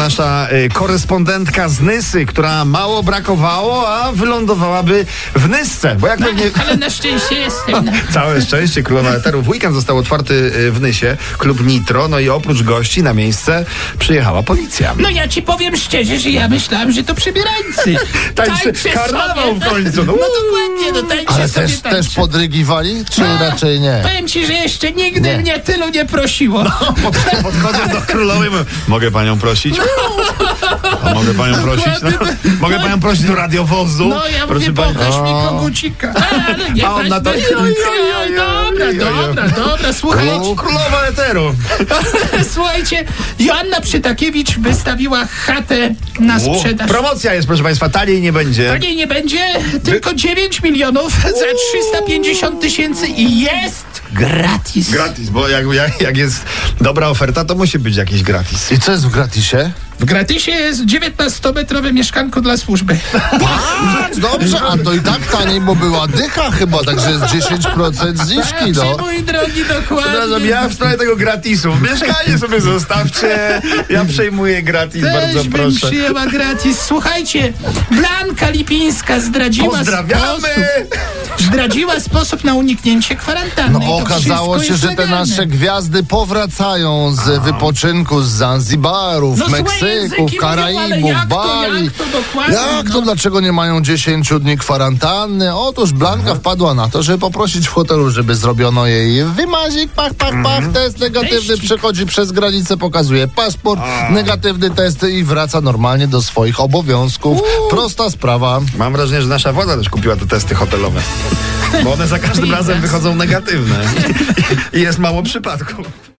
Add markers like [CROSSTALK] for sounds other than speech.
Nasza y, korespondentka z Nysy, która mało brakowało, a wylądowałaby w Nysce, bo jak pewnie... [LAUGHS] [LAUGHS] Ale na szczęście jestem. Całe szczęście Królowa Eteru. W weekend został otwarty y, w Nysie klub Nitro, no i oprócz gości na miejsce przyjechała policja. No ja ci powiem szczerze, że ja myślałem, że to [LAUGHS] przebierańcy. karnawał sobie, w końcu. No, No dokładnie, no tańczę Ale sobie też, tańczę. też podrygiwali, czy No. A, raczej nie? Powiem ci, że jeszcze nigdy Nie. mnie tylu nie prosiło. No, Pod- tak Podchodzę do królowej, mówię, mogę panią prosić? No. A mogę panią prosić? No, tak. mogę panią prosić do radiowozu? No ja mówię, pani- pokaż mi kogucika. A, no nie, A on na to- weźmy- Oj, oj, oj, Dobra, oj, oj. dobra, dobra, słuchajcie. Królowa Eteru. [LAUGHS] Słuchajcie, Joanna Przytakiewicz wystawiła chatę na sprzedaż. Promocja jest, proszę państwa, taniej nie będzie. Taniej nie będzie, tylko 9 milionów za 350 tysięcy i jest gratis. Gratis, bo jak, jak, jak jest dobra oferta, to musi być jakiś gratis. I co jest w gratisie? W gratisie jest 19-metrowe mieszkanko dla [LAUGHS] służby. Dobrze, a to i tak taniej, bo była dycha chyba, także jest 10% zniżki, no. Czy, mój drogi, Przepraszam, dokładnie. ja w sprawie tego gratisu. Mieszkanie sobie zostawcie. Ja przejmuję gratis, Też bardzo bym proszę. przyjęła gratis. Słuchajcie, Blanka Lipińska zdradziła Pozdrawiamy! sposób. Zdradziła sposób na uniknięcie kwarantanny. I No to okazało wszystko się, jest że te legalne. nasze gwiazdy powracają z wypoczynku z Zanzibarów, No, złe języki Meksyków, mówią, ale Karaibów, jak to, Bali. jak to dokładnie, Jak to, no? dlaczego nie mają 10 dni kwarantanny? Otóż Mhm. Blanka wpadła na to, żeby poprosić w hotelu, żeby zrobiono jej wymazik, pach, pach, pach, test negatywny, Mhm. Teścik. przechodzi przez granicę, pokazuje paszport, negatywny test i wraca normalnie do swoich obowiązków. Prosta sprawa. Mam wrażenie, że nasza władza też kupiła te testy hotelowe. Bo one za każdym razem wychodzą negatywne. I jest mało przypadków.